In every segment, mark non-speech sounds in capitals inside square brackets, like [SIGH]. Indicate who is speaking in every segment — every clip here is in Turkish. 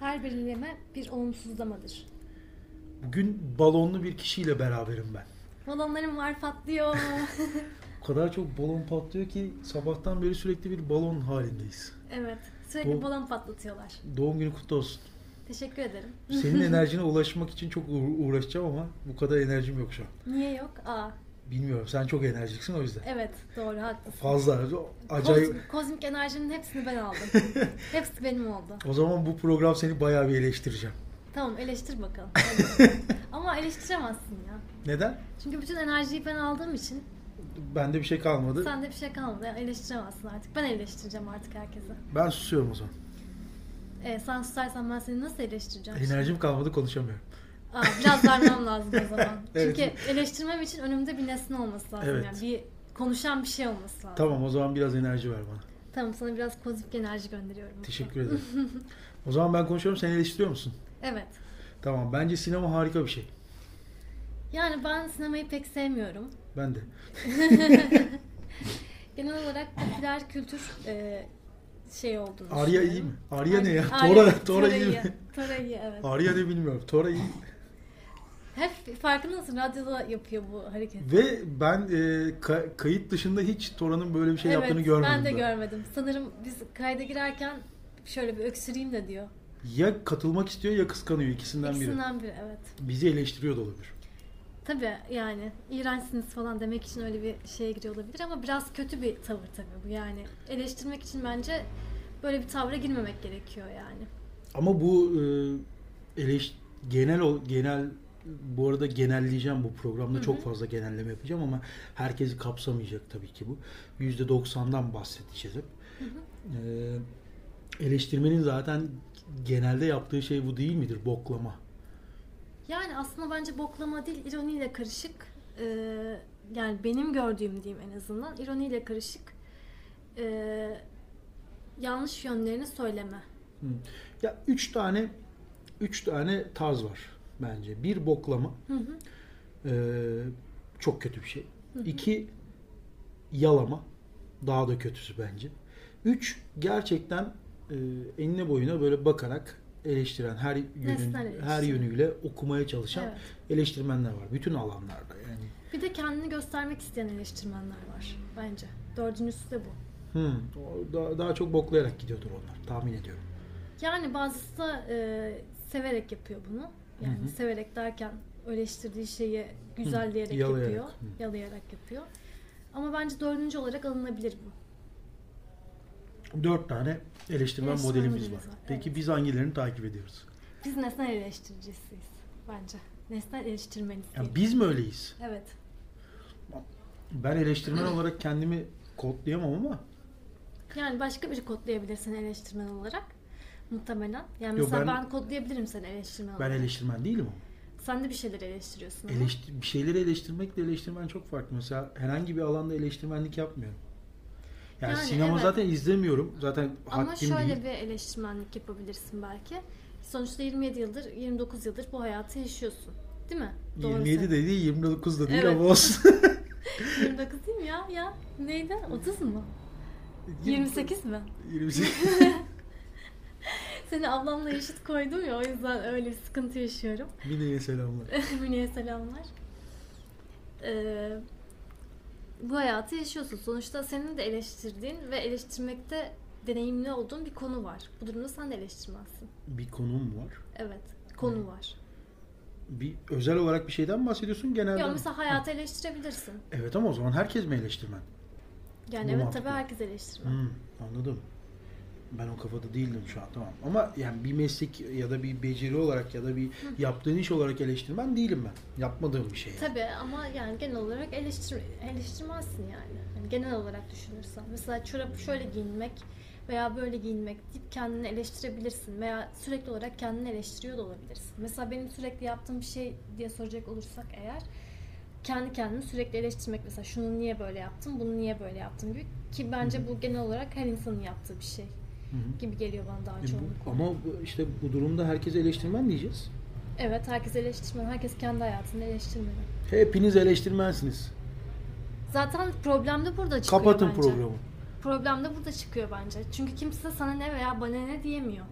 Speaker 1: Her belirleme bir olumsuzlamadır.
Speaker 2: Bugün balonlu bir kişiyle beraberim ben.
Speaker 1: Balonlarım var [LAUGHS] patlıyor.
Speaker 2: O kadar çok balon patlıyor ki sabahtan beri sürekli bir balon halindeyiz.
Speaker 1: evet. Sürekli
Speaker 2: Bu-
Speaker 1: balon patlatıyorlar.
Speaker 2: Doğum günü kutlu olsun.
Speaker 1: Teşekkür ederim.
Speaker 2: Senin enerjine ulaşmak için çok uğra- uğraşacağım ama bu kadar enerjim yok şu an.
Speaker 1: Niye yok? Aa
Speaker 2: Bilmiyorum sen çok enerjiksin o yüzden.
Speaker 1: evet doğru haklısın.
Speaker 2: Fazla acayip.
Speaker 1: Kozmik, kozmik enerjinin hepsini ben
Speaker 2: [LAUGHS]
Speaker 1: aldım. Hepsi benim oldu.
Speaker 2: O zaman bu program seni bayağı bir eleştireceğim.
Speaker 1: Tamam eleştir
Speaker 2: [LAUGHS]
Speaker 1: bakalım. Ama eleştiremezsin ya.
Speaker 2: Neden?
Speaker 1: Çünkü bütün enerjiyi ben aldığım için
Speaker 2: Bende bir şey kalmadı.
Speaker 1: sende bir şey kalmadı. Eleştiremezsin artık. Ben eleştireceğim artık herkese.
Speaker 2: Ben susuyorum o zaman.
Speaker 1: Ee, sen susarsan ben seni nasıl eleştireceğim?
Speaker 2: Enerjim kalmadı konuşamıyorum.
Speaker 1: Aa, biraz vermem lazım
Speaker 2: [LAUGHS]
Speaker 1: o zaman.
Speaker 2: Evet.
Speaker 1: Çünkü eleştirmem için önümde bir nesne olması lazım.
Speaker 2: Evet.
Speaker 1: Yani bir konuşan bir şey olması lazım.
Speaker 2: Tamam o zaman biraz enerji ver bana.
Speaker 1: Tamam sana biraz pozitif enerji gönderiyorum.
Speaker 2: Teşekkür ederim. o zaman ben konuşuyorum sen eleştiriyor musun?
Speaker 1: Evet.
Speaker 2: Tamam bence sinema harika bir şey.
Speaker 1: Yani ben sinemayı pek sevmiyorum.
Speaker 2: Ben de.
Speaker 1: Genel olarak popüler kültür e, şey olduğunu
Speaker 2: Arya iyi mi?
Speaker 1: düşünüyorum.
Speaker 2: Arya ne ya?
Speaker 1: Arya-
Speaker 2: Tora, Tora iyi mi?
Speaker 1: Tora iyi evet.
Speaker 2: Arya ne bilmiyorum. Tora iyi.
Speaker 1: Hep farkındasın radyoda yapıyor bu hareketi.
Speaker 2: Ve ben e, ka- kayıt dışında hiç Tora'nın böyle bir şey
Speaker 1: evet,
Speaker 2: yaptığını görmedim.
Speaker 1: ben de
Speaker 2: ben.
Speaker 1: görmedim. Sanırım biz kayda girerken şöyle bir öksüreyim de diyor.
Speaker 2: Ya katılmak istiyor ya kıskanıyor ikisinden, biri.
Speaker 1: İkisinden biri evet.
Speaker 2: Bizi eleştiriyor da olabilir.
Speaker 1: Tabii yani iğrençsiniz falan demek için öyle bir şeye giriyor olabilir ama biraz kötü bir tavır tabii bu yani. Eleştirmek için bence böyle bir tavra girmemek gerekiyor yani.
Speaker 2: Ama bu e, eleş- genel ol- genel bu arada genelleyeceğim bu programda çok fazla genelleme yapacağım ama herkesi kapsamayacak tabii ki bu. %90'dan bahsedeceğiz hep. E, eleştirmenin zaten genelde yaptığı şey bu değil midir? Boklama.
Speaker 1: Yani aslında bence boklama değil ironiyle karışık eee, yani benim gördüğüm diyeyim en azından ironiyle karışık eee, yanlış yönlerini söyleme.
Speaker 2: Hı. Ya üç tane üç tane tarz var bence. Bir boklama. Ee, çok kötü bir şey. İki yalama. Daha da kötüsü bence. Üç gerçekten e, enine boyuna böyle bakarak eleştiren her yönün,
Speaker 1: Nesnel eleştiren.
Speaker 2: her yönüyle okumaya çalışan
Speaker 1: Evet.
Speaker 2: eleştirmenler var. Bütün alanlarda yani.
Speaker 1: Bir de kendini göstermek isteyen eleştirmenler var bence. Dördüncüsü de bu.
Speaker 2: Hı, o daha, daha çok boklayarak gidiyordur onlar tahmin ediyorum.
Speaker 1: Yani bazısı da e, severek yapıyor bunu. Yani severek derken eleştirdiği şeyi güzelleyerek
Speaker 2: yalayarak.
Speaker 1: yapıyor,
Speaker 2: Hı.
Speaker 1: yalayarak yapıyor. Ama bence dördüncü olarak alınabilir bu.
Speaker 2: Dört tane eleştirmen
Speaker 1: Eleştirmen
Speaker 2: modelimiz var.
Speaker 1: modelimiz var,
Speaker 2: Peki
Speaker 1: evet.
Speaker 2: biz hangilerini takip ediyoruz?
Speaker 1: Biz nesnel eleştiricisiyiz bence. Nesnel eleştirmeniz
Speaker 2: Ya
Speaker 1: değil.
Speaker 2: biz mi öyleyiz?
Speaker 1: Evet.
Speaker 2: Ben eleştirmen olarak kendimi kodlayamam ama
Speaker 1: Yani başka biri kodlayabilirsin eleştirmen olarak. Muhtemelen. Yani
Speaker 2: Yo,
Speaker 1: mesela ben,
Speaker 2: ben-
Speaker 1: kodlayabilirim seni eleştirmen
Speaker 2: ben
Speaker 1: olarak.
Speaker 2: eleştirmen değilim ama.
Speaker 1: Sen de bir şeyler eleştiriyorsun. ama.
Speaker 2: Eleştir- bir şeyleri eleştirmekle eleştirmen çok farklı. Mesela herhangi bir alanda eleştirmenlik yapmıyorum. Yani,
Speaker 1: Yani
Speaker 2: sinema
Speaker 1: evet.
Speaker 2: zaten izlemiyorum. Zaten
Speaker 1: Ama
Speaker 2: haddim
Speaker 1: şöyle
Speaker 2: değil.
Speaker 1: bir eleştirmenlik yapabilirsin belki. Sonuçta 27 yıldır, 29 yıldır bu hayatı yaşıyorsun. Değil mi? Doğru
Speaker 2: 27 de değil, 29 da değil
Speaker 1: Evet.
Speaker 2: ama
Speaker 1: [LAUGHS]
Speaker 2: olsun. [LAUGHS]
Speaker 1: söylüyorum. 29 değil mi ya? Ya neydi? 30 mu? 28 mi?
Speaker 2: 28.
Speaker 1: [LAUGHS] Seni ablamla eşit koydum ya o yüzden öyle bir sıkıntı yaşıyorum. [LAUGHS]
Speaker 2: Mine'ye selamlar.
Speaker 1: Mine'ye selamlar. Ee, bu hayatı yaşıyorsun. Sonuçta senin de eleştirdiğin ve eleştirmekte deneyimli olduğun bir konu var. Bu durumda sen de eleştirmezsin.
Speaker 2: Bir konum var.
Speaker 1: Evet, konu var.
Speaker 2: Bir özel olarak bir şeyden mi bahsediyorsun genelde?
Speaker 1: Ya
Speaker 2: mi?
Speaker 1: mesela hayatı eleştirebilirsin.
Speaker 2: Evet ama o zaman herkes mi eleştirmen?
Speaker 1: Yani
Speaker 2: Bu
Speaker 1: evet
Speaker 2: mantıklı.
Speaker 1: tabii herkes eleştirme.
Speaker 2: Hmm, anladım. Ben o kafada değildim şu an tamam. Ama yani bir meslek ya da bir beceri olarak ya da bir yaptığın iş olarak eleştirmen değilim ben. Yapmadığım bir şey. yani.
Speaker 1: Tabii ama yani genel olarak eleştir eleştirmezsin yani. yani. Genel olarak düşünürsen. Mesela çorap şöyle giyinmek veya böyle giyinmek deyip kendini eleştirebilirsin. Veya sürekli olarak kendini eleştiriyor da olabilirsin. Mesela benim sürekli yaptığım bir şey diye soracak olursak eğer kendi kendini sürekli eleştirmek mesela şunu niye böyle yaptım, bunu niye böyle yaptım gibi ki bence bu genel olarak her insanın yaptığı bir şey
Speaker 2: Hı hı.
Speaker 1: gibi geliyor bana daha
Speaker 2: E
Speaker 1: çok.
Speaker 2: bu- ama bu- işte bu durumda herkes eleştirmen diyeceğiz.
Speaker 1: Evet herkes eleştirmeli, herkes kendi hayatını eleştirmeli.
Speaker 2: Hepiniz eleştirmensiniz.
Speaker 1: Zaten problem de burada çıkıyor
Speaker 2: Kapatın
Speaker 1: bence.
Speaker 2: programı.
Speaker 1: Problem de burada çıkıyor bence. Çünkü kimse sana ne veya bana ne diyemiyor.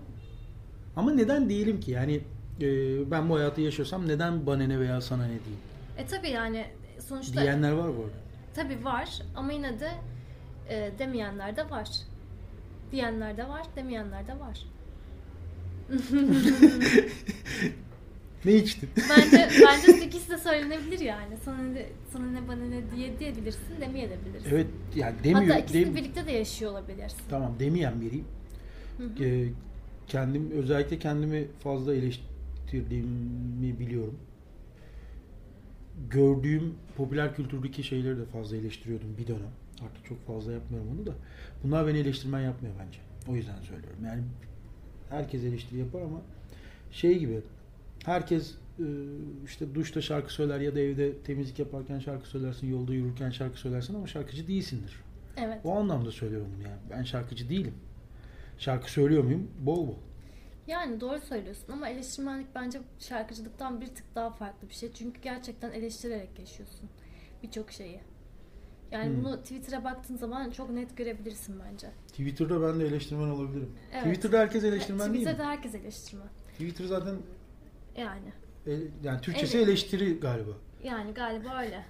Speaker 2: Ama neden diyelim ki? Yani e, ben bu hayatı yaşıyorsam neden bana ne veya sana ne diyeyim?
Speaker 1: E tabii yani sonuçta
Speaker 2: Diyenler var bu arada.
Speaker 1: tabii var ama yine de e, demeyenler de var. Diyenler de var, demeyenler de var.
Speaker 2: Ne içtin?
Speaker 1: Bence bence ikisi de söylenebilir yani. Sana ne, sana ne bana ne diye diyebilirsin, demeyebilirsin.
Speaker 2: [LAUGHS] evet yani demiyor.
Speaker 1: Hatta ikisini
Speaker 2: dem-
Speaker 1: birlikte de yaşıyor olabilirsin.
Speaker 2: Tamam demeyen biriyim.
Speaker 1: Hı hı.
Speaker 2: E, kendim özellikle kendimi fazla eleştirdiğimi biliyorum. Gördüğüm popüler kültürdeki şeyleri de fazla eleştiriyordum bir dönem. Artık çok fazla yapmıyorum onu da. Bunlar beni eleştirmen yapmıyor bence. O yüzden söylüyorum. Yani herkes eleştiri yapar ama şey gibi herkes e, işte duşta şarkı söyler ya da evde temizlik yaparken şarkı söylersin, yolda yürürken şarkı söylersin ama şarkıcı değilsindir.
Speaker 1: Evet.
Speaker 2: O anlamda söylüyorum bunu yani. Ben şarkıcı değilim. Şarkı söylüyor muyum? Bol bol.
Speaker 1: Yani doğru söylüyorsun ama eleştirmenlik bence şarkıcılıktan bir tık daha farklı bir şey. Çünkü gerçekten eleştirerek yaşıyorsun birçok şeyi. Yani
Speaker 2: Hmm.
Speaker 1: bunu Twitter'a baktığın zaman çok net görebilirsin bence.
Speaker 2: Twitter'da ben de eleştirmen olabilirim.
Speaker 1: Evet. E,
Speaker 2: Twitter'da herkes eleştirmen değil mi?
Speaker 1: Twitter'da herkes eleştirmen.
Speaker 2: Twitter zaten
Speaker 1: Yani.
Speaker 2: ele- yani Türkçesi
Speaker 1: Evet.
Speaker 2: eleştiri galiba.
Speaker 1: Yani galiba öyle.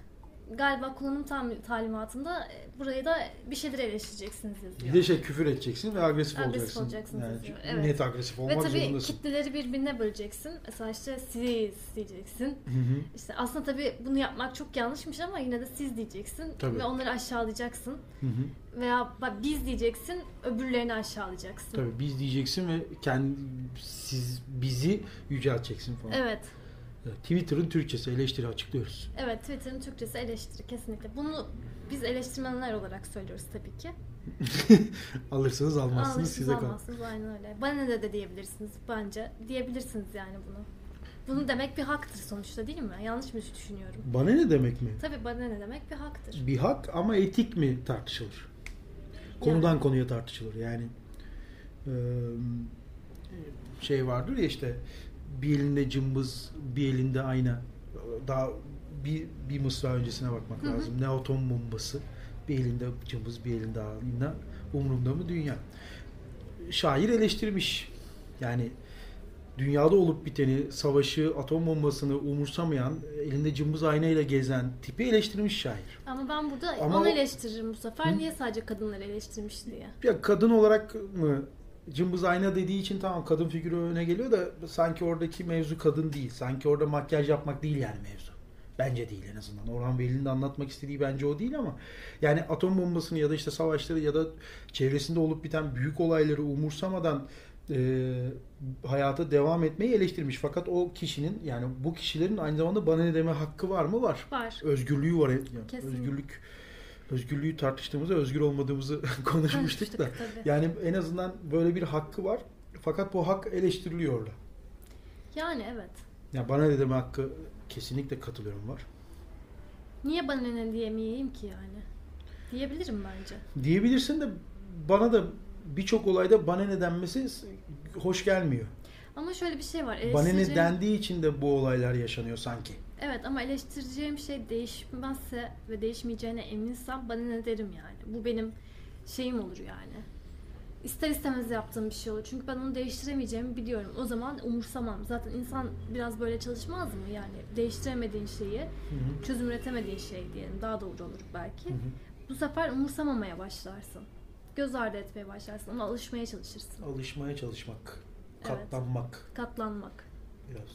Speaker 1: Galiba kullanım tam talimatında e, buraya da bir şeyler eleştireceksiniz
Speaker 2: Bir
Speaker 1: yazıyor.
Speaker 2: de şey küfür edeceksin ve agresif,
Speaker 1: Agresif
Speaker 2: olacaksın.
Speaker 1: olacaksınız yazıyor.
Speaker 2: çünkü
Speaker 1: Evet.
Speaker 2: Net agresif
Speaker 1: Ve
Speaker 2: olmak
Speaker 1: tabii
Speaker 2: zorundasın.
Speaker 1: kitleleri birbirine böleceksin. Mesela işte siz diyeceksin.
Speaker 2: Hı hı.
Speaker 1: İşte aslında tabii bunu yapmak çok yanlışmış ama yine de siz diyeceksin.
Speaker 2: Tabii.
Speaker 1: Ve onları aşağılayacaksın.
Speaker 2: Hı hı.
Speaker 1: Veya ba- biz diyeceksin, öbürlerini aşağılayacaksın.
Speaker 2: Tabii biz diyeceksin ve kendi siz bizi yücelteceksin falan.
Speaker 1: Evet.
Speaker 2: Evet, Twitter'ın Türkçesi eleştiri açıklıyoruz. [LAUGHS]
Speaker 1: Evet, Twitter'ın Türkçesi eleştiri kesinlikle. Bunu biz eleştirmenler olarak söylüyoruz tabii ki.
Speaker 2: Alırsanız almazsınız
Speaker 1: Almışsınız,
Speaker 2: size kalır.
Speaker 1: almazsınız, aynen öyle. Bana ne de diyebilirsiniz bence. Diyebilirsiniz yani bunu. Bunu demek bir haktır sonuçta değil mi? Yanlış mı düşünüyorum?
Speaker 2: Bana ne demek mi?
Speaker 1: Tabii bana ne demek bir haktır.
Speaker 2: Bir hak ama etik mi tartışılır? Konudan konuya tartışılır. Yani eee, şey vardır ya işte bir elinde cımbız, bir elinde ayna. Daha bir, bir mısra öncesine bakmak
Speaker 1: Hı hı.
Speaker 2: lazım. Ne atom bombası. Bir elinde cımbız, bir elinde ayna. Umrumda mı dünya? Şair eleştirmiş. Yani dünyada olup biteni, savaşı, atom bombasını umursamayan, elinde cımbız aynayla gezen tipi eleştirmiş şair.
Speaker 1: Ama ben burada
Speaker 2: Ama
Speaker 1: onu
Speaker 2: o-
Speaker 1: eleştiririm bu sefer.
Speaker 2: Hı?
Speaker 1: Niye sadece kadınları eleştirmiş diye.
Speaker 2: Ya kadın olarak mı cımbız ayna dediği için tamam kadın figürü öne geliyor da sanki oradaki mevzu kadın değil. Sanki orada makyaj yapmak değil yani mevzu. Bence değil en azından. Orhan Veli'nin de anlatmak istediği bence o değil ama yani atom bombasını ya da işte savaşları ya da çevresinde olup biten büyük olayları umursamadan e, hayata devam etmeyi eleştirmiş. Fakat o kişinin yani bu kişilerin aynı zamanda bana ne deme hakkı var mı? Var
Speaker 1: Var.
Speaker 2: özgürlüğü var. Yani
Speaker 1: Kesinlikle.
Speaker 2: özgürlük özgürlüğü tartıştığımızda özgür olmadığımızı [LAUGHS] konuşmuştuk
Speaker 1: Konuştuk
Speaker 2: da.
Speaker 1: tabii.
Speaker 2: Yani en azından böyle bir hakkı var. Fakat bu hak eleştiriliyor orada.
Speaker 1: Yani evet.
Speaker 2: Yani bana ne deme hakkı kesinlikle katılıyorum var.
Speaker 1: Niye bana ne diyemeyeyim ki yani? Diyebilirim bence.
Speaker 2: Diyebilirsin de bana da birçok olayda bana ne denmesi hoş gelmiyor.
Speaker 1: Ama şöyle bir şey var.
Speaker 2: Bana ne
Speaker 1: eleştireceğim-
Speaker 2: dendiği için de bu olaylar yaşanıyor sanki.
Speaker 1: Evet ama eleştireceğim şey değişmezse ve değişmeyeceğine eminsem bana ne derim yani. Bu benim şeyim olur yani. İster istemez yaptığım bir şey olur. Çünkü ben onu değiştiremeyeceğimi biliyorum. O zaman umursamam. Zaten insan biraz böyle çalışmaz mı? Yani değiştiremediğin şeyi,
Speaker 2: Hı hı.
Speaker 1: çözüm üretemediğin şey diyelim. Daha doğru olur belki.
Speaker 2: Hı hı.
Speaker 1: Bu sefer umursamamaya başlarsın. Göz ardı etmeye başlarsın. Ona alışmaya çalışırsın.
Speaker 2: Alışmaya çalışmak,
Speaker 1: Evet.
Speaker 2: katlanmak.
Speaker 1: Katlanmak.
Speaker 2: Biraz.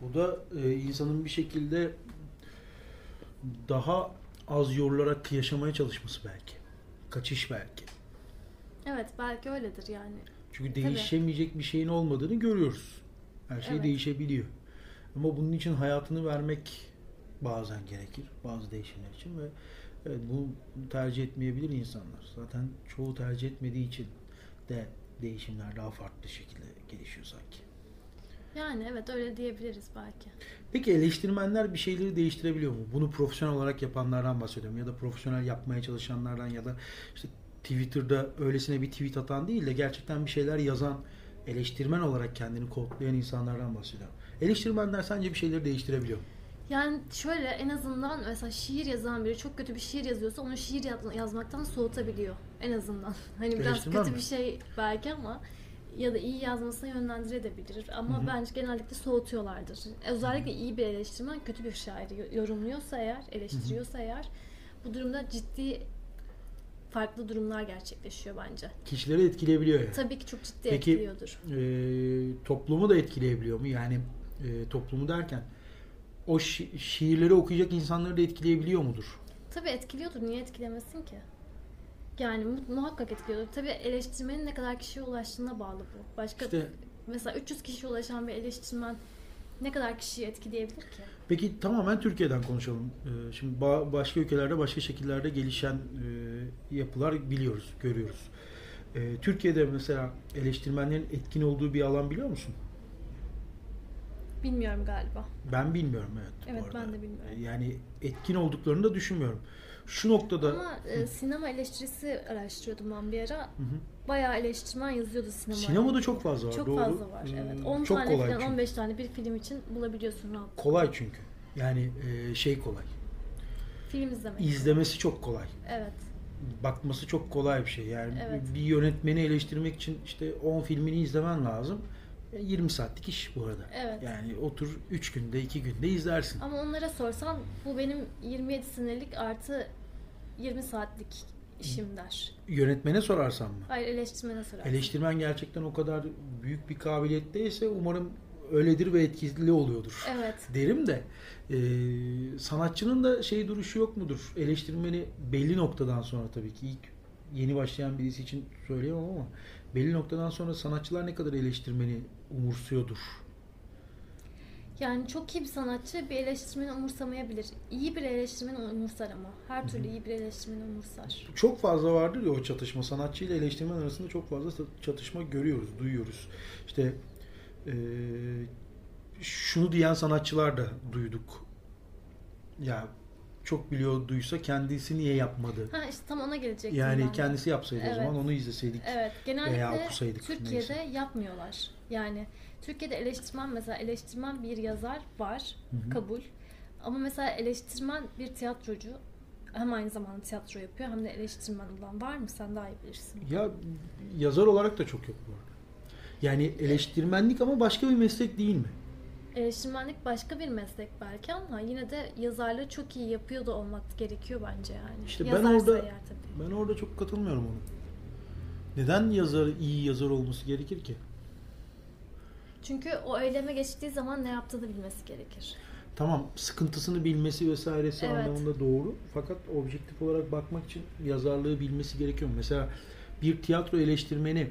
Speaker 2: Bu da e, insanın bir şekilde daha az yorularak yaşamaya çalışması belki. Kaçış belki.
Speaker 1: Evet belki öyledir yani.
Speaker 2: Çünkü değişemeyecek bir şeyin olmadığını görüyoruz. Her şey
Speaker 1: Evet.
Speaker 2: değişebiliyor. Ama bunun için hayatını vermek bazen gerekir. Bazı değişimler için ve evet, bunu tercih etmeyebilir insanlar. Zaten çoğu tercih etmediği için de değişimler daha farklı şekilde gelişiyor sanki.
Speaker 1: Yani evet öyle diyebiliriz belki.
Speaker 2: Peki eleştirmenler bir şeyleri değiştirebiliyor mu? Bunu profesyonel olarak yapanlardan bahsediyorum ya da profesyonel yapmaya çalışanlardan ya da işte Twitter'da öylesine bir tweet atan değil de gerçekten bir şeyler yazan, eleştirmen olarak kendini kodlayan insanlardan bahsediyorum. Eleştirmenler sence bir şeyleri değiştirebiliyor mu?
Speaker 1: Yani şöyle en azından mesela şiir yazan biri çok kötü bir şiir yazıyorsa onu şiir yaz- yazmaktan soğutabiliyor en azından. [LAUGHS] Hani biraz
Speaker 2: Eleştirmen
Speaker 1: kötü
Speaker 2: mi?
Speaker 1: bir şey belki ama ya da iyi yazmasına yönlendirebilir ama
Speaker 2: Hı hı.
Speaker 1: bence genellikle soğutuyorlardır. Özellikle iyi bir eleştirmen kötü bir şairi yo- yorumluyorsa eğer, eleştiriyorsa eğer bu durumda ciddi farklı durumlar gerçekleşiyor bence.
Speaker 2: Kişileri etkileyebiliyor yani.
Speaker 1: Tabii ki çok ciddi
Speaker 2: Peki-
Speaker 1: etkiliyordur.
Speaker 2: Ee, toplumu da etkileyebiliyor mu? Yani e, toplumu derken o şi- şiirleri okuyacak insanları da etkileyebiliyor mudur?
Speaker 1: Tabii etkiliyordur. Niye etkilemesin ki? Yani mu- muhakkak etkiliyordur. Tabii eleştirmenin ne kadar kişiye ulaştığına bağlı bu. Başka
Speaker 2: İşte
Speaker 1: mesela 300 kişiye ulaşan bir eleştirmen ne kadar kişiyi etkileyebilir ki?
Speaker 2: Peki tamamen Türkiye'den konuşalım. Ee, Şimdi ba- başka ülkelerde başka şekillerde gelişen e, yapılar biliyoruz, görüyoruz. Ee, Türkiye'de mesela eleştirmenlerin etkin olduğu bir alan biliyor musun?
Speaker 1: Bilmiyorum galiba.
Speaker 2: Ben bilmiyorum evet. bu
Speaker 1: Evet,
Speaker 2: arada.
Speaker 1: ben de bilmiyorum.
Speaker 2: Yani etkin olduklarını da düşünmüyorum. Şu noktada
Speaker 1: Ama e, sinema eleştirisi araştırıyordum ben bir ara.
Speaker 2: Hı hı.
Speaker 1: Bayağı eleştirmen yazıyordu sinema.
Speaker 2: sinemada çok fazla var.
Speaker 1: çok
Speaker 2: doğru.
Speaker 1: fazla var.
Speaker 2: Ee,
Speaker 1: Evet. 10
Speaker 2: çok
Speaker 1: tane
Speaker 2: kolay
Speaker 1: falan
Speaker 2: çünkü.
Speaker 1: 15 tane bir film için bulabiliyorsun rahat.
Speaker 2: Kolay çünkü. Yani e, şey kolay.
Speaker 1: Film izlemek.
Speaker 2: İzlemesi çok kolay.
Speaker 1: evet.
Speaker 2: bakması çok kolay bir şey. Yani
Speaker 1: Evet.
Speaker 2: bir yönetmeni eleştirmek için işte 10 filmini izlemen lazım. E, 20 saatlik iş bu arada.
Speaker 1: Evet.
Speaker 2: Yani otur 3 günde 2 günde izlersin.
Speaker 1: Ama onlara sorsan bu benim 27 senelik artı 20 saatlik işim der.
Speaker 2: Yönetmene sorarsan mı?
Speaker 1: Hayır eleştirmene sorarsın.
Speaker 2: Eleştirmen gerçekten o kadar büyük bir kabiliyetteyse umarım öyledir ve etkili oluyordur.
Speaker 1: Evet.
Speaker 2: Derim de e, sanatçının da şey duruşu yok mudur? Eleştirmeni belli noktadan sonra tabii ki ilk yeni başlayan birisi için söyleyemem ama belli noktadan sonra sanatçılar ne kadar eleştirmeni umursuyordur?
Speaker 1: Yani çok iyi bir sanatçı bir eleştirmeni umursamayabilir. İyi bir eleştirmeni umursar ama. Her türlü iyi bir eleştirmeni umursar.
Speaker 2: Çok fazla vardır ya o çatışma. Sanatçı ile eleştirmen arasında çok fazla sa- çatışma görüyoruz, duyuyoruz. İşte eee, şunu diyen sanatçılar da duyduk. Ya çok biliyor duysa kendisi niye yapmadı?
Speaker 1: Ha işte tam ona gelecektim
Speaker 2: Yani
Speaker 1: ben.
Speaker 2: kendisi yapsaydı o
Speaker 1: Evet.
Speaker 2: zaman onu izleseydik.
Speaker 1: Evet, genellikle
Speaker 2: okusaydık,
Speaker 1: Türkiye'de
Speaker 2: neyse.
Speaker 1: yapmıyorlar. Yani Türkiye'de eleştirmen mesela eleştirmen bir yazar var,
Speaker 2: hı.
Speaker 1: kabul. Ama mesela eleştirmen bir tiyatrocu hem aynı zamanda tiyatro yapıyor hem de eleştirmen olan var mı? Sen daha iyi bilirsin.
Speaker 2: Ya yazar olarak da çok yok bu arada. Yani eleştirmenlik ama başka bir meslek değil mi?
Speaker 1: Eleştirmenlik başka bir meslek belki ama yine de yazarlığı çok iyi yapıyor da olmak gerekiyor bence yani.
Speaker 2: İşte ben
Speaker 1: Yazarsa
Speaker 2: orada-
Speaker 1: eğer tabii.
Speaker 2: Ben orada çok katılmıyorum ona. Neden yazar iyi yazar olması gerekir ki?
Speaker 1: Çünkü o eyleme geçtiği zaman ne yaptığını bilmesi gerekir.
Speaker 2: Tamam sıkıntısını bilmesi vesairesi
Speaker 1: Evet.
Speaker 2: anlamında doğru. Fakat objektif olarak bakmak için yazarlığı bilmesi gerekiyor. Mesela bir tiyatro eleştirmeni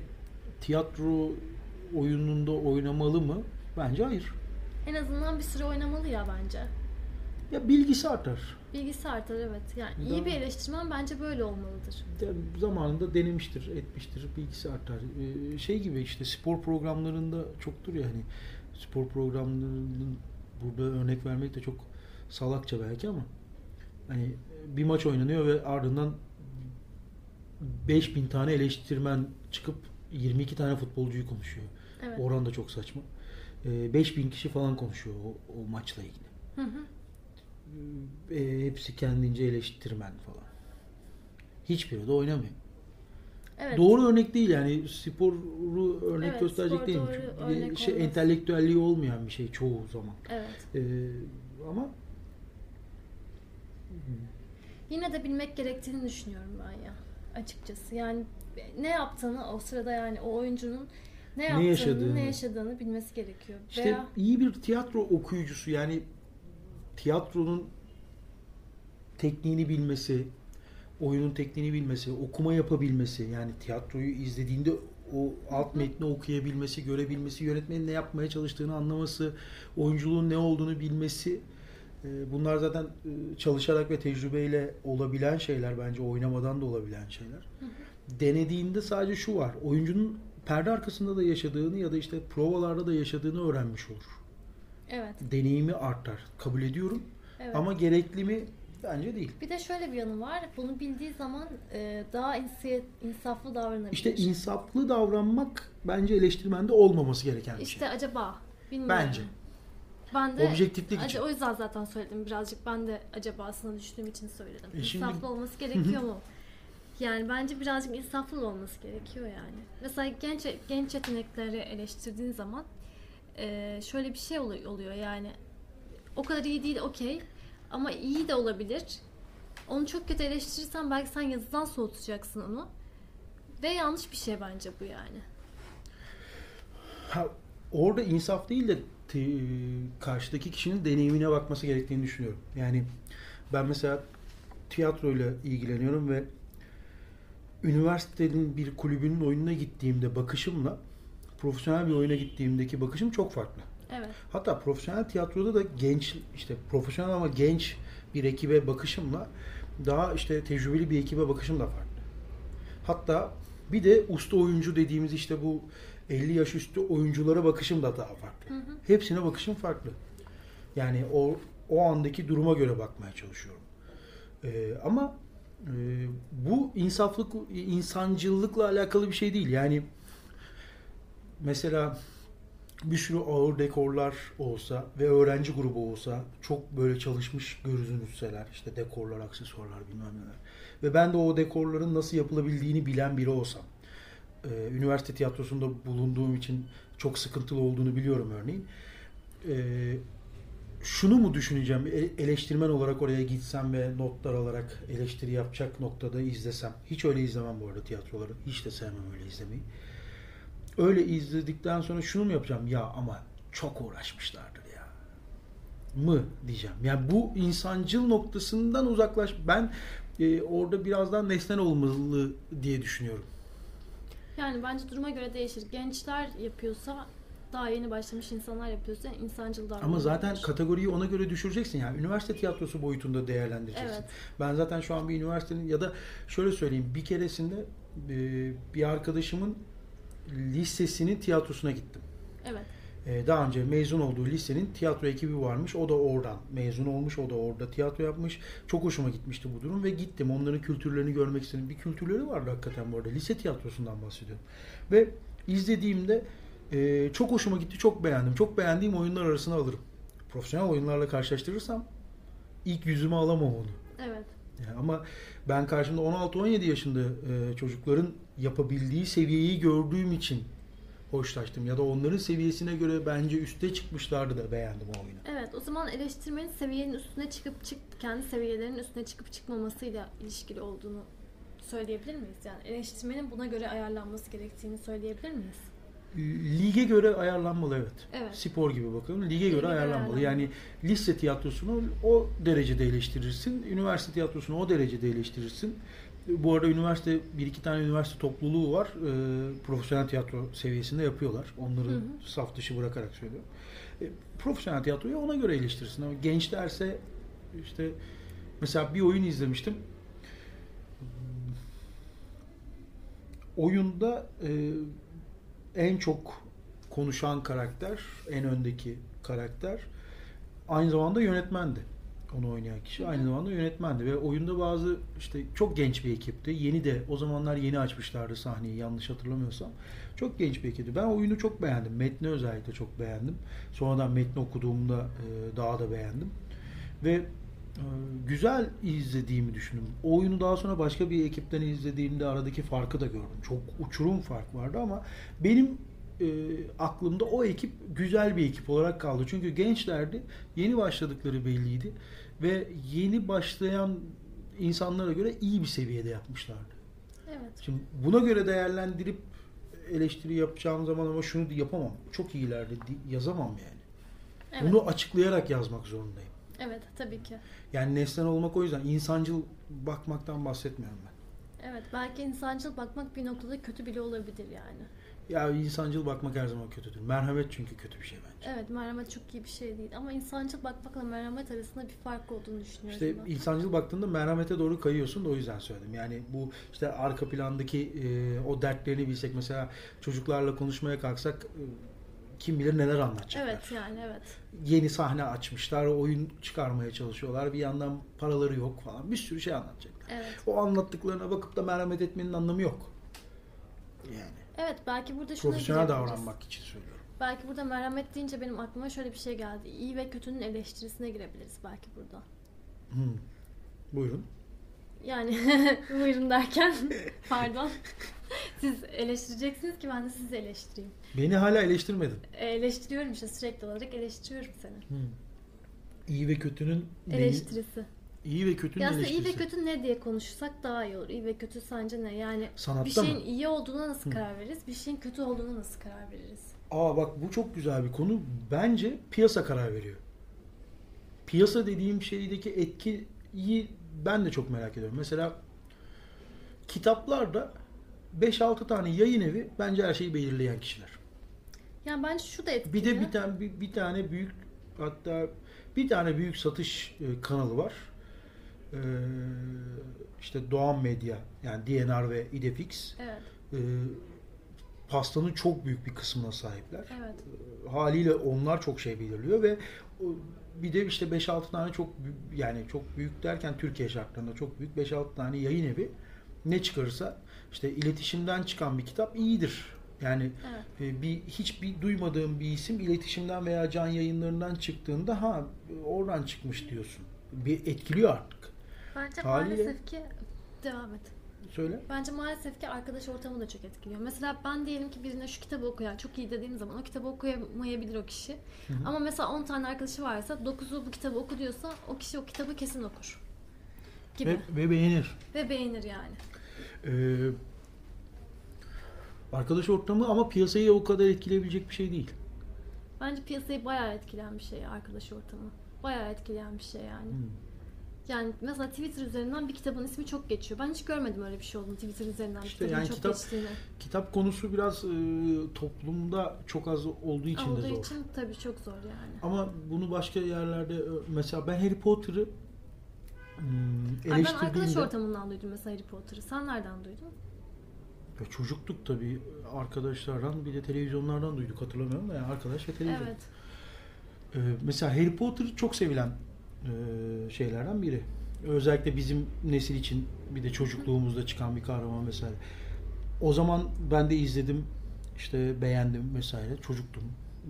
Speaker 2: tiyatro oyununda oynamalı mı? Bence hayır.
Speaker 1: En azından bir süre oynamalı ya bence.
Speaker 2: Ya bilgisi artar.
Speaker 1: Bilgisi artar evet. Yani
Speaker 2: Bir
Speaker 1: iyi
Speaker 2: daha-
Speaker 1: bir eleştirmen bence böyle olmalıdır.
Speaker 2: Yani zamanında denemiştir, etmiştir, bilgisi artar. Ee, şey gibi işte spor programlarında çoktur ya hani spor programlarının burada örnek vermek de çok salakça belki ama hani bir maç oynanıyor ve ardından 5000 tane eleştirmen çıkıp 22 tane futbolcuyu konuşuyor.
Speaker 1: Evet.
Speaker 2: Oran da çok saçma. Ee, 5000 kişi falan konuşuyor o, o maçla ilgili.
Speaker 1: Hı hı.
Speaker 2: Ee, hepsi kendince eleştirmen falan. Hiçbiri de oynamıyor.
Speaker 1: Evet.
Speaker 2: Doğru örnek değil yani sporu örnek
Speaker 1: Evet,
Speaker 2: gösterecek
Speaker 1: spor
Speaker 2: değil.
Speaker 1: doğru
Speaker 2: Çünkü
Speaker 1: örnek
Speaker 2: şey
Speaker 1: olmaz.
Speaker 2: entelektüelliği olmayan bir şey çoğu zaman.
Speaker 1: Evet.
Speaker 2: Ee, ama
Speaker 1: Yine de bilmek gerektiğini düşünüyorum ben ya. Açıkçası yani ne yaptığını o sırada yani o oyuncunun ne yaptığını, ne yaşadığını,
Speaker 2: yaşadığını.
Speaker 1: bilmesi gerekiyor.
Speaker 2: işte
Speaker 1: Veya
Speaker 2: iyi bir tiyatro okuyucusu yani tiyatronun tekniğini bilmesi, oyunun tekniğini bilmesi, okuma yapabilmesi yani tiyatroyu izlediğinde o alt metni okuyabilmesi, görebilmesi, yönetmenin ne yapmaya çalıştığını anlaması, oyunculuğun ne olduğunu bilmesi e, bunlar zaten e, çalışarak ve tecrübeyle olabilen şeyler bence oynamadan da olabilen şeyler. Denediğinde sadece şu var. Oyuncunun perde arkasında da yaşadığını ya da işte provalarda da yaşadığını öğrenmiş olur.
Speaker 1: evet.
Speaker 2: Deneyimi artar. Kabul ediyorum.
Speaker 1: Evet.
Speaker 2: Ama gerekli mi? Bence değil.
Speaker 1: bir de şöyle bir yanı var. Bunu bildiği zaman e, daha insi- insaflı davranabilir.
Speaker 2: İşte insaflı davranmak bence eleştirmende olmaması gereken bir şey.
Speaker 1: İşte acaba bilmiyorum.
Speaker 2: Bence.
Speaker 1: Ben de
Speaker 2: Objektiflik
Speaker 1: Ac-
Speaker 2: için.
Speaker 1: O yüzden zaten söyledim birazcık. Ben de acabasını düşündüğüm için söyledim.
Speaker 2: E şimdi-
Speaker 1: İnsaflı olması gerekiyor mu? Yani bence birazcık insaflı olması gerekiyor yani. Mesela genç genç yetenekleri eleştirdiğin zaman eee, şöyle bir şey olu- oluyor yani o kadar iyi değil okey ama iyi de olabilir. Onu çok kötü eleştirirsen belki sen yazıdan soğutacaksın onu. Ve yanlış bir şey bence bu yani.
Speaker 2: Ha, orada insaf değil de te- karşıdaki kişinin deneyimine bakması gerektiğini düşünüyorum. Yani ben mesela tiyatroyla ilgileniyorum ve üniversitenin bir kulübünün oyununa gittiğimde bakışımla profesyonel bir oyuna gittiğimdeki bakışım çok farklı.
Speaker 1: Evet.
Speaker 2: Hatta profesyonel tiyatroda da genç işte profesyonel ama genç bir ekibe bakışımla daha işte tecrübeli bir ekibe bakışım da farklı. Hatta bir de usta oyuncu dediğimiz işte bu 50 yaş üstü oyunculara bakışım da daha farklı.
Speaker 1: Hı hı.
Speaker 2: Hepsine bakışım farklı. Yani o o andaki duruma göre bakmaya çalışıyorum. Ee, ama e, bu insaflık insancıllıkla alakalı bir şey değil. Yani mesela bir sürü ağır dekorlar olsa ve öğrenci grubu olsa çok böyle çalışmış görünürseler işte dekorlar, aksesuarlar bilmem neler. Ve ben de o dekorların nasıl yapılabildiğini bilen biri olsam. e, üniversite tiyatrosunda bulunduğum için çok sıkıntılı olduğunu biliyorum örneğin. E, şunu mu düşüneceğim e- eleştirmen olarak oraya gitsem ve notlar alarak eleştiri yapacak noktada izlesem. Hiç öyle izlemem bu arada tiyatroları. Hiç de sevmem öyle izlemeyi. Öyle izledikten sonra şunu mu yapacağım? Ya ama çok uğraşmışlardır ya. Mı diyeceğim. Yani bu insancıl noktasından uzaklaş. Ben e, orada biraz daha nesnel olmalı diye düşünüyorum.
Speaker 1: Yani bence duruma göre değişir. Gençler yapıyorsa daha yeni başlamış insanlar yapıyorsa insancıl davranıyor.
Speaker 2: Ama zaten kategoriyi ona göre düşüreceksin. Yani üniversite tiyatrosu boyutunda değerlendireceksin.
Speaker 1: Evet.
Speaker 2: Ben zaten şu an bir üniversitenin ya da şöyle söyleyeyim bir keresinde e, bir arkadaşımın lisesinin tiyatrosuna gittim.
Speaker 1: Evet.
Speaker 2: E, Daha önce mezun olduğu lisenin tiyatro ekibi varmış. O da oradan mezun olmuş. O da orada tiyatro yapmış. Çok hoşuma gitmişti bu durum ve gittim. Onların kültürlerini görmek istedim. Bir kültürleri vardı hakikaten bu arada. Lise tiyatrosundan bahsediyorum. Ve izlediğimde e, çok hoşuma gitti. Çok beğendim. Çok beğendiğim oyunlar arasına alırım. Profesyonel oyunlarla karşılaştırırsam ilk yüzüme alamam onu.
Speaker 1: Evet.
Speaker 2: Yani ama ben karşımda 16-17 yaşında e, çocukların yapabildiği seviyeyi gördüğüm için hoşlaştım. Ya da onların seviyesine göre bence üste çıkmışlardı da beğendim o oyunu.
Speaker 1: Evet. O zaman eleştirmenin seviyenin üstüne çıkıp çık kendi seviyelerinin üstüne çıkıp çıkmamasıyla ilişkili olduğunu söyleyebilir miyiz? Yani eleştirmenin buna göre ayarlanması gerektiğini söyleyebilir miyiz?
Speaker 2: Lige göre ayarlanmalı evet.
Speaker 1: Evet.
Speaker 2: Spor gibi bakalım. Lige
Speaker 1: Lige
Speaker 2: göre
Speaker 1: göre
Speaker 2: ayarlanmalı.
Speaker 1: ayarlanmalı.
Speaker 2: Yani lise tiyatrosunu o derecede eleştirirsin. Üniversite tiyatrosunu o derecede eleştirirsin. Bu arada üniversite bir iki tane üniversite topluluğu var. Ee, profesyonel tiyatro seviyesinde yapıyorlar. Onları
Speaker 1: Hı hı.
Speaker 2: saf dışı bırakarak söylüyorum. E, profesyonel tiyatroyu ona göre eleştirirsin. Ama gençlerse işte mesela bir oyun izlemiştim. Oyunda e, en çok konuşan karakter, en öndeki karakter aynı zamanda yönetmendi. Onu oynayan kişi aynı zamanda yönetmendi ve oyunda bazı işte çok genç bir ekipti. Yeni de o zamanlar yeni açmışlardı sahneyi yanlış hatırlamıyorsam. Çok genç bir ekipti. Ben oyunu çok beğendim. Metni özellikle çok beğendim. Sonradan metni okuduğumda e, daha da beğendim. Ve e, güzel izlediğimi düşündüm. O oyunu daha sonra başka bir ekipten izlediğimde aradaki farkı da gördüm. Çok uçurum fark vardı ama benim e, aklımda o ekip güzel bir ekip olarak kaldı. Çünkü gençlerdi. Yeni başladıkları belliydi. Ve yeni başlayan insanlara göre iyi bir seviyede yapmışlardı.
Speaker 1: Evet.
Speaker 2: Şimdi buna göre değerlendirip eleştiri yapacağım zaman ama şunu yapamam. Çok iyilerdi di- yazamam yani.
Speaker 1: Evet.
Speaker 2: Bunu açıklayarak yazmak zorundayım.
Speaker 1: Evet. Tabii ki.
Speaker 2: Yani nesnel olmak o yüzden insancıl bakmaktan bahsetmiyorum ben.
Speaker 1: Evet. Belki insancıl bakmak bir noktada kötü bile olabilir yani.
Speaker 2: Ya insancıl bakmak her zaman kötüdür. Merhamet çünkü kötü bir şey bence.
Speaker 1: Evet. Merhamet çok iyi bir şey değil. Ama insancıl bakmakla merhamet arasında bir fark olduğunu düşünüyorum
Speaker 2: İşte
Speaker 1: ben.
Speaker 2: insancıl baktığında merhamete doğru kayıyorsun da o yüzden söyledim. Yani bu işte arka plandaki e, o dertlerini bilsek mesela çocuklarla konuşmaya kalksak e, kim bilir neler anlatacaklar.
Speaker 1: Evet yani evet.
Speaker 2: Yeni sahne açmışlar, oyun çıkarmaya çalışıyorlar. Bir yandan paraları yok falan. Bir sürü şey anlatacaklar.
Speaker 1: Evet.
Speaker 2: O anlattıklarına bakıp da merhamet etmenin anlamı yok. Yani
Speaker 1: Evet belki burada şuna
Speaker 2: profesyonel
Speaker 1: gidebiliriz.
Speaker 2: davranmak için söylüyorum.
Speaker 1: Belki burada merhamet deyince benim aklıma şöyle bir şey geldi. İyi ve kötünün eleştirisine girebiliriz belki burada.
Speaker 2: Hmm. Buyurun.
Speaker 1: Yani [LAUGHS] buyurun
Speaker 2: [LAUGHS]
Speaker 1: derken pardon. Siz eleştireceksiniz ki ben de sizi eleştireyim.
Speaker 2: Beni hala eleştirmedin.
Speaker 1: E, Eleştiriyorum işte sürekli olarak eleştiriyorum seni.
Speaker 2: İyi ve kötünün neyi?
Speaker 1: Eleştirisi.
Speaker 2: İyi ve kötünün
Speaker 1: Ya aslında iyi
Speaker 2: eleştirisi.
Speaker 1: ve kötü ne diye konuşsak daha iyi olur. İyi ve kötü sence ne? Yani
Speaker 2: Sanatta
Speaker 1: bir şeyin
Speaker 2: mı?
Speaker 1: iyi olduğuna nasıl
Speaker 2: Hı.
Speaker 1: karar veririz? Bir şeyin kötü olduğuna nasıl karar veririz?
Speaker 2: Aa bak bu çok güzel bir konu. Bence piyasa karar veriyor. Piyasa dediğim şeydeki etkiyi ben de çok merak ediyorum. Mesela kitaplarda 5-6 tane yayın evi bence her şeyi belirleyen kişiler.
Speaker 1: Yani bence şu da etkili.
Speaker 2: Bir de bir tane bir, bir tane büyük hatta bir tane büyük satış e, kanalı var. Ee, işte Doğan Medya yani DNR ve İdefix
Speaker 1: Evet,
Speaker 2: e, pastanın çok büyük bir kısmına sahipler
Speaker 1: evet.
Speaker 2: haliyle onlar çok şey belirliyor ve o- bir de işte 5-6 tane çok bü- yani çok büyük derken Türkiye şartlarında çok büyük 5-6 tane yayın evi ne çıkarırsa işte iletişimden çıkan bir kitap iyidir. Yani
Speaker 1: Evet.
Speaker 2: e, bir hiçbir duymadığım bir isim iletişimden veya can yayınlarından çıktığında ha oradan çıkmış diyorsun. Bir etkiliyor artık.
Speaker 1: Bence
Speaker 2: Haliyle-
Speaker 1: maalesef ki devam et.
Speaker 2: Söyle.
Speaker 1: Bence maalesef ki arkadaş ortamı da çok etkiliyor. Mesela ben diyelim ki birine şu kitabı oku ya çok iyi dediğim zaman o kitabı okuyamayabilir o kişi. Ama mesela 10 tane arkadaşı varsa 9'u bu kitabı oku diyorsa o kişi o kitabı kesin okur. Gibi.
Speaker 2: Ve, ve beğenir.
Speaker 1: Ve beğenir yani.
Speaker 2: Ee, arkadaş ortamı ama piyasayı o kadar etkileyebilecek bir şey değil.
Speaker 1: Bence piyasayı bayağı etkilen bir şey arkadaş ortamı. Bayağı etkileyen bir şey yani.
Speaker 2: Hmm.
Speaker 1: Yani mesela Twitter üzerinden bir kitabın ismi çok geçiyor. Ben hiç görmedim öyle bir şey olduğunu Twitter üzerinden bir
Speaker 2: İşte
Speaker 1: kitabın
Speaker 2: yani
Speaker 1: çok
Speaker 2: kitap-
Speaker 1: geçtiğini.
Speaker 2: Kitap konusu biraz e, toplumda çok az olduğu için de
Speaker 1: Olduğu
Speaker 2: zor.
Speaker 1: için tabii çok zor yani.
Speaker 2: Ama bunu başka yerlerde e, mesela ben Harry Potter'ı hmm,
Speaker 1: Ay ben arkadaş
Speaker 2: eleştirdiğimde-
Speaker 1: ortamından duydum mesela Harry Potter'ı. Sen nereden duydun?
Speaker 2: Ya çocuktuk tabii arkadaşlardan bir de televizyonlardan duyduk hatırlamıyorum da yani arkadaş ve televizyon.
Speaker 1: Evet.
Speaker 2: E, mesela Harry Potter çok sevilen e, şeylerden biri. Özellikle bizim nesil için bir de çocukluğumuzda çıkan bir kahraman vesaire. O zaman ben de izledim, işte beğendim vesaire. Çocuktum.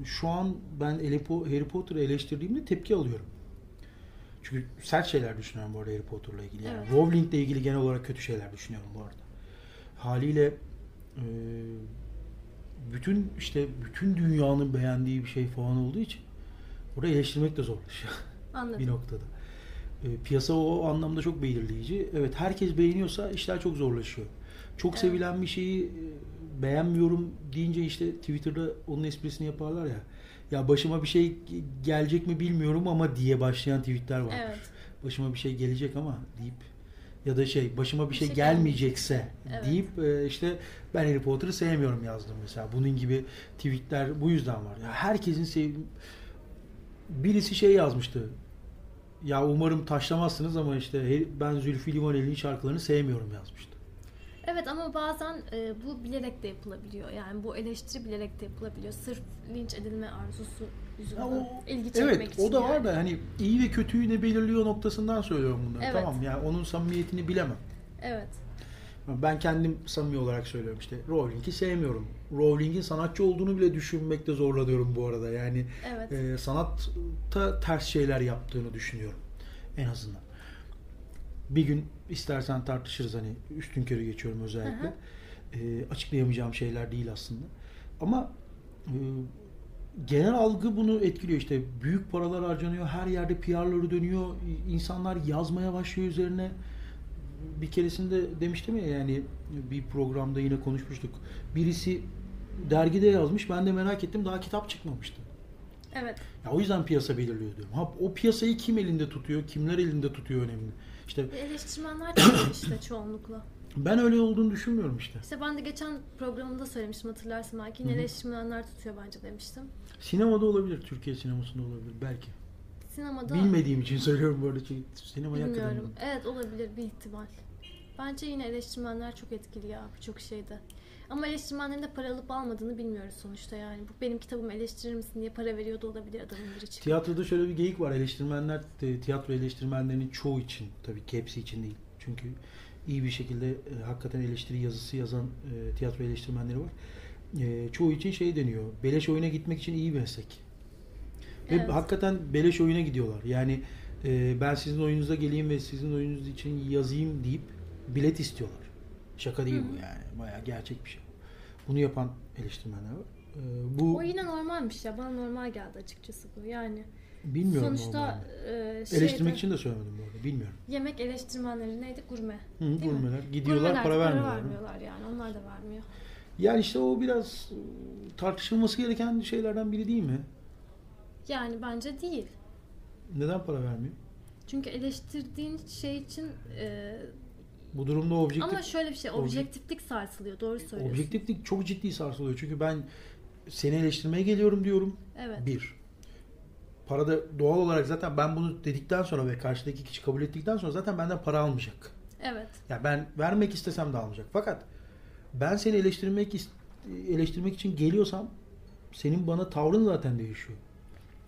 Speaker 2: Şu an ben Elepo- Harry Potter'ı eleştirdiğimde tepki alıyorum. Çünkü sert şeyler düşünüyorum bu arada Harry Potter'la ilgili. Yani
Speaker 1: Evet.
Speaker 2: Rowling'le ilgili genel olarak kötü şeyler düşünüyorum bu arada. Haliyle e, bütün işte bütün dünyanın beğendiği bir şey falan olduğu için Burayı eleştirmek de zorlaşıyor [LAUGHS] bir
Speaker 1: Anladım.
Speaker 2: noktada. E, piyasa o anlamda çok belirleyici. Evet herkes beğeniyorsa işler çok zorlaşıyor. Çok
Speaker 1: Evet.
Speaker 2: sevilen bir şeyi e, beğenmiyorum deyince işte Twitter'da onun esprisini yaparlar ya. Ya başıma bir şey gelecek mi bilmiyorum ama diye başlayan tweetler vardır.
Speaker 1: Evet.
Speaker 2: Başıma bir şey gelecek ama deyip ya da şey başıma bir
Speaker 1: Bir
Speaker 2: şey
Speaker 1: şey
Speaker 2: gelmeyecekse
Speaker 1: Evet.
Speaker 2: deyip e, işte ben Harry Potter'ı sevmiyorum yazdım mesela. Bunun gibi tweetler bu yüzden var. Ya herkesin sevdiği birisi şey yazmıştı. Ya umarım taşlamazsınız ama işte Harry- ben Zülfü Livaneli'nin şarkılarını sevmiyorum yazmıştı.
Speaker 1: Evet ama bazen e, bu bilerek de yapılabiliyor. Yani bu eleştiri bilerek de yapılabiliyor. Sırf linç edilme arzusu yüzünden.
Speaker 2: Ya o-
Speaker 1: ilgi çekmek
Speaker 2: Evet
Speaker 1: için.
Speaker 2: o da
Speaker 1: yani.
Speaker 2: var da hani iyi ve kötüyü ne belirliyor noktasından söylüyorum bunları.
Speaker 1: Evet.
Speaker 2: Tamam yani onun samimiyetini bilemem.
Speaker 1: Evet.
Speaker 2: Ben kendim samimi olarak söylüyorum işte Rowling'i sevmiyorum. Rowling'in sanatçı olduğunu bile düşünmekte zorlanıyorum bu arada. Yani
Speaker 1: Evet.
Speaker 2: e, sanatta ters şeyler yaptığını düşünüyorum en azından. Bir gün istersen tartışırız hani üstün körü geçiyorum özellikle.
Speaker 1: Hı
Speaker 2: E, açıklayamayacağım şeyler değil aslında. Ama e, genel algı bunu etkiliyor işte büyük paralar harcanıyor her yerde PR'ları dönüyor insanlar yazmaya başlıyor üzerine bir keresinde demiştim ya yani bir programda yine konuşmuştuk birisi dergide yazmış ben de merak ettim daha kitap çıkmamıştı
Speaker 1: Evet.
Speaker 2: ya o yüzden piyasa belirliyor diyorum. Ha, o piyasayı kim elinde tutuyor, kimler elinde tutuyor önemli. İşte
Speaker 1: Eleştirmenler çok
Speaker 2: [COUGHS]
Speaker 1: işte çoğunlukla.
Speaker 2: ben öyle olduğunu düşünmüyorum işte.
Speaker 1: İşte ben de geçen programımda söylemiştim hatırlarsın belki. Yine eleştirmenler tutuyor bence demiştim.
Speaker 2: Sinemada olabilir, Türkiye sinemasında olabilir belki.
Speaker 1: Sinemada
Speaker 2: Bilmediğim için söylüyorum bu arada çünkü sinemaya hakikaten
Speaker 1: bilmiyorum.
Speaker 2: bilmiyorum.
Speaker 1: Evet olabilir bir ihtimal. Bence yine eleştirmenler çok etkili ya birçok şeyde. Ama eleştirmenlerin de para alıp almadığını bilmiyoruz sonuçta yani. Bu benim kitabımı eleştirir misin diye para veriyor da olabilir adamın biri çıkıp.
Speaker 2: Tiyatroda şöyle bir geyik var. Eleştirmenler, e, tiyatro eleştirmenlerinin çoğu için, tabii ki hepsi için değil. Çünkü iyi bir şekilde e, hakikaten eleştiri yazısı yazan e, tiyatro eleştirmenleri var. E, çoğu için şey deniyor. Beleş oyuna gitmek için iyi bir meslek. Ve
Speaker 1: Evet.
Speaker 2: hakikaten beleş oyuna gidiyorlar. Yani e, ben sizin oyununuza geleyim ve sizin oyununuz için yazayım deyip bilet istiyorlar. Şaka değil bu yani. Bayağı gerçek bir şey. Bunu yapan eleştirmenler var. E, bu
Speaker 1: O yine normalmiş ya. Bana normal geldi açıkçası bu. Yani
Speaker 2: bilmiyorum
Speaker 1: sonuçta
Speaker 2: normalde.
Speaker 1: e, şeyde,
Speaker 2: Eleştirmek için de söylemedim bu arada. Bilmiyorum.
Speaker 1: yemek eleştirmenleri neydi? Gurme.
Speaker 2: Hı,
Speaker 1: Değil mi?
Speaker 2: gurmeler gidiyorlar
Speaker 1: Gurmeler de
Speaker 2: para vermiyorlar.
Speaker 1: vermiyorlar yani. Onlar da vermiyor.
Speaker 2: Yani işte o biraz e, tartışılması gereken şeylerden biri değil mi?
Speaker 1: Yani bence değil.
Speaker 2: Neden para vermiyor?
Speaker 1: Çünkü eleştirdiğin şey için e,
Speaker 2: Bu durumda objektif
Speaker 1: ama şöyle bir şey
Speaker 2: objek-
Speaker 1: objektiflik sarsılıyor. Doğru söylüyorsun.
Speaker 2: objektiflik çok ciddi sarsılıyor. Çünkü ben seni eleştirmeye geliyorum diyorum.
Speaker 1: Evet.
Speaker 2: Bir. Para da doğal olarak zaten ben bunu dedikten sonra ve karşıdaki kişi kabul ettikten sonra zaten benden para almayacak.
Speaker 1: Evet.
Speaker 2: Ya ben vermek istesem de almayacak. Fakat ben seni eleştirmek is- eleştirmek için geliyorsam senin bana tavrın zaten değişiyor.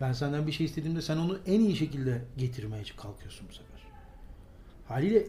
Speaker 2: Ben senden bir şey istediğimde sen onu en iyi şekilde getirmeye kalkıyorsun bu sefer. Haliyle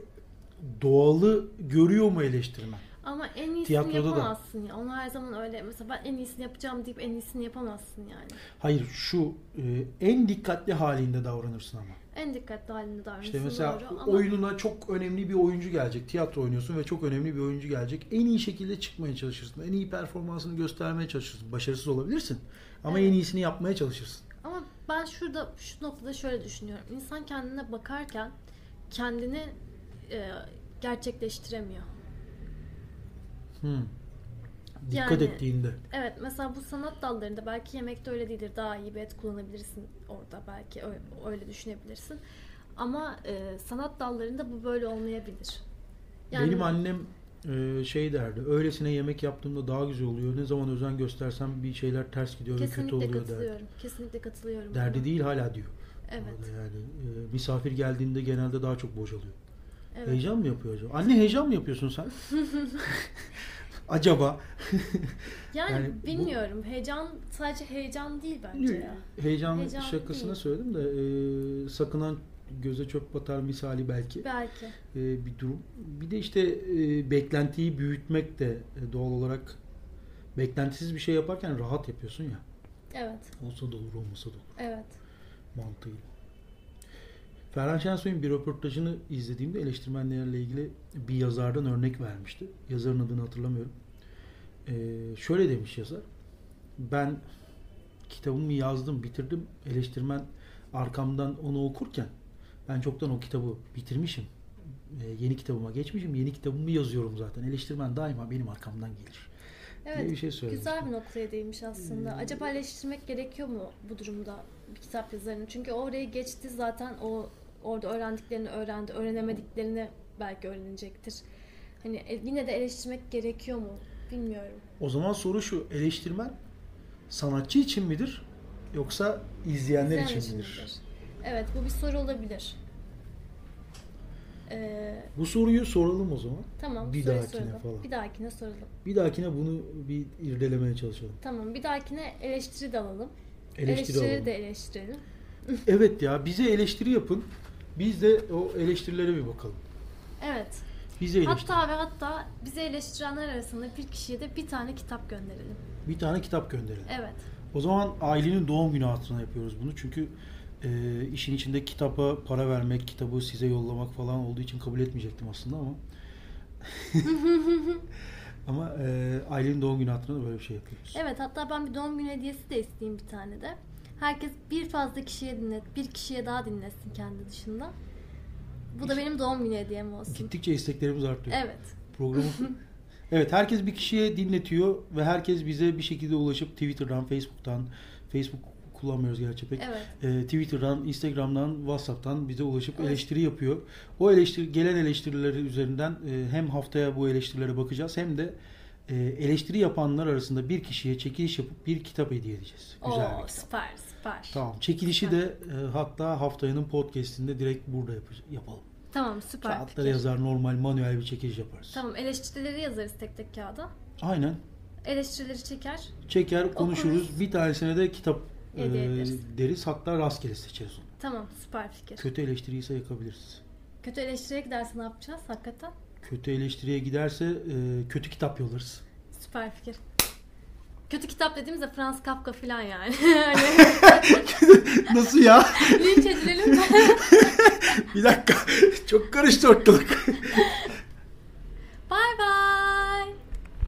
Speaker 2: doğalı görüyor mu eleştirmen?
Speaker 1: Ama en iyisini
Speaker 2: Tiyatroda da.
Speaker 1: yapamazsın ya. Onu her zaman öyle mesela ben en iyisini yapacağım deyip en iyisini yapamazsın yani.
Speaker 2: Hayır şu e, en dikkatli halinde davranırsın ama.
Speaker 1: En dikkatli halinde davranırsın
Speaker 2: İşte mesela
Speaker 1: doğru ama
Speaker 2: oyununa çok önemli bir oyuncu gelecek. Tiyatro oynuyorsun ve çok önemli bir oyuncu gelecek. En iyi şekilde çıkmaya çalışırsın. En iyi performansını göstermeye çalışırsın. Başarısız olabilirsin. Ama
Speaker 1: Evet.
Speaker 2: en iyisini yapmaya çalışırsın.
Speaker 1: ama ben şurada şu noktada şöyle düşünüyorum. İnsan kendine bakarken kendini e, gerçekleştiremiyor.
Speaker 2: Hmm. Dikkat
Speaker 1: Yani-
Speaker 2: ettiğinde.
Speaker 1: Evet mesela bu sanat dallarında belki yemekte öyle değildir. Daha iyi bir et kullanabilirsin orada belki öyle, öyle düşünebilirsin. Ama e, sanat dallarında bu böyle olmayabilir.
Speaker 2: Benim annem e, şey derdi. Öylesine yemek yaptığımda daha güzel oluyor. Ne zaman özen göstersem bir şeyler ters gidiyor ve kötü
Speaker 1: kesinlikle
Speaker 2: oluyor derdi.
Speaker 1: katılıyorum. Kesinlikle katılıyorum.
Speaker 2: Derdi
Speaker 1: buna.
Speaker 2: değil hala diyor.
Speaker 1: Evet.
Speaker 2: Orada Yani e, misafir geldiğinde genelde daha çok bocalıyor.
Speaker 1: Evet.
Speaker 2: Heyecan mı yapıyor acaba? Anne heyecan mı
Speaker 1: [LAUGHS]
Speaker 2: yapıyorsun sen? acaba
Speaker 1: Yani,
Speaker 2: Yani bu-
Speaker 1: bilmiyorum. Heyecan sadece heyecan değil bence ya.
Speaker 2: heyecan,
Speaker 1: Heyecan
Speaker 2: şakasına
Speaker 1: değil.
Speaker 2: söyledim de e, sakınan göze çöp batar misali belki
Speaker 1: Belki.
Speaker 2: e, bir durum. Bir de işte e, beklentiyi büyütmek de e, doğal olarak beklentisiz bir şey yaparken rahat yapıyorsun ya.
Speaker 1: Evet.
Speaker 2: Olsa da olur olmasa da olur
Speaker 1: Evet.
Speaker 2: mantığıyla. Ferhan Şensoy'un bir röportajını izlediğimde eleştirmenlerle ilgili bir yazardan örnek vermişti. Yazarın adını hatırlamıyorum. Ee, şöyle demiş yazar. Ben kitabımı yazdım, bitirdim. Eleştirmen arkamdan onu okurken ben çoktan o kitabı bitirmişim. Ee, yeni kitabıma geçmişim. Yeni kitabımı yazıyorum zaten. Eleştirmen daima benim arkamdan gelir.
Speaker 1: Evet.
Speaker 2: bir şey Hmm. söylemiş.
Speaker 1: güzel bir noktaya değinmiş aslında. Acaba eleştirmek gerekiyor mu bu durumda bir kitap yazarını? Çünkü o oraya geçti zaten o orada öğrendiklerini öğrendi. Öğrenemediklerini belki öğrenecektir. Hani e, yine de eleştirmek gerekiyor mu? Bilmiyorum.
Speaker 2: O zaman soru şu. Eleştirmen sanatçı için midir? Yoksa izleyenler
Speaker 1: İzleyen
Speaker 2: için midir?
Speaker 1: midir? Evet bu bir soru olabilir. Ee,
Speaker 2: Bu soruyu soralım o zaman.
Speaker 1: tamam
Speaker 2: Bir
Speaker 1: soruyu
Speaker 2: dahakine
Speaker 1: soralım.
Speaker 2: falan.
Speaker 1: Bir dahakine soralım.
Speaker 2: Bir dahakine bunu bir irdelemeye çalışalım.
Speaker 1: Tamam bir dahakine eleştiri de alalım.
Speaker 2: Eleştiri alalım.
Speaker 1: de eleştirelim.
Speaker 2: Evet ya bize eleştiri yapın. Biz de o eleştirilere bir bakalım.
Speaker 1: Evet.
Speaker 2: Bize eleştiri.
Speaker 1: Hatta ve hatta bize eleştirenler arasında bir kişiye de bir tane kitap gönderelim.
Speaker 2: Bir tane kitap gönderelim.
Speaker 1: Evet.
Speaker 2: O zaman ailenin doğum günü hatırına yapıyoruz bunu. Çünkü e, işin içinde kitaba para vermek, kitabı size yollamak falan olduğu için kabul etmeyecektim
Speaker 1: [LAUGHS]
Speaker 2: aslında ama. ama e, ailenin doğum günü hatırına da böyle bir şey yapıyoruz.
Speaker 1: Evet hatta ben bir doğum günü hediyesi de isteyeyim bir tane de. Herkes bir fazla kişiye dinlet, bir kişiye daha dinlesin kendi dışında. Bu da benim doğum günü hediyem olsun.
Speaker 2: Gittikçe isteklerimiz artıyor.
Speaker 1: Evet.
Speaker 2: programı.
Speaker 1: [LAUGHS]
Speaker 2: evet herkes bir kişiye dinletiyor ve herkes bize bir şekilde ulaşıp Twitter'dan, Facebook'tan, Facebook kullanmıyoruz gerçi pek.
Speaker 1: Evet.
Speaker 2: Ee, Twitter'dan, Instagram'dan, WhatsApp'tan bize ulaşıp
Speaker 1: Evet.
Speaker 2: eleştiri yapıyor. O eleştiri gelen eleştirileri üzerinden e, hem haftaya bu eleştirilere bakacağız hem de e, eleştiri yapanlar arasında bir kişiye çekiliş yapıp bir kitap hediye edeceğiz. Güzel bir
Speaker 1: Oo,
Speaker 2: kitap.
Speaker 1: süper süper.
Speaker 2: Tamam. Çekilişi de e, hatta haftanın podcast'inde direkt burada yap- yapalım.
Speaker 1: Tamam, süper.
Speaker 2: Kağıtlara
Speaker 1: fikir.
Speaker 2: yazar normal manuel bir çekiliş yaparız.
Speaker 1: Tamam eleştirileri yazarız tek tek kağıda.
Speaker 2: Aynen.
Speaker 1: Eleştirileri çeker.
Speaker 2: çeker konuşuruz.
Speaker 1: Okuruz.
Speaker 2: Bir tanesine de kitap
Speaker 1: Hediye
Speaker 2: e,
Speaker 1: ederiz.
Speaker 2: deriz. Hatta rastgele seçeriz onu.
Speaker 1: Tamam süper fikir.
Speaker 2: Kötü eleştiriyi ise yakabiliriz.
Speaker 1: Kötü eleştiriye giderse ne yapacağız hakikaten?
Speaker 2: Kötü eleştiriye giderse e, kötü kitap yollarız.
Speaker 1: Süper fikir. Kötü kitap dediğimizde Franz Kafka falan yani. [LAUGHS] Hani
Speaker 2: [LAUGHS] Nasıl ya?
Speaker 1: Linç edilelim. [LAUGHS]
Speaker 2: bir dakika. Çok karıştı ortalık.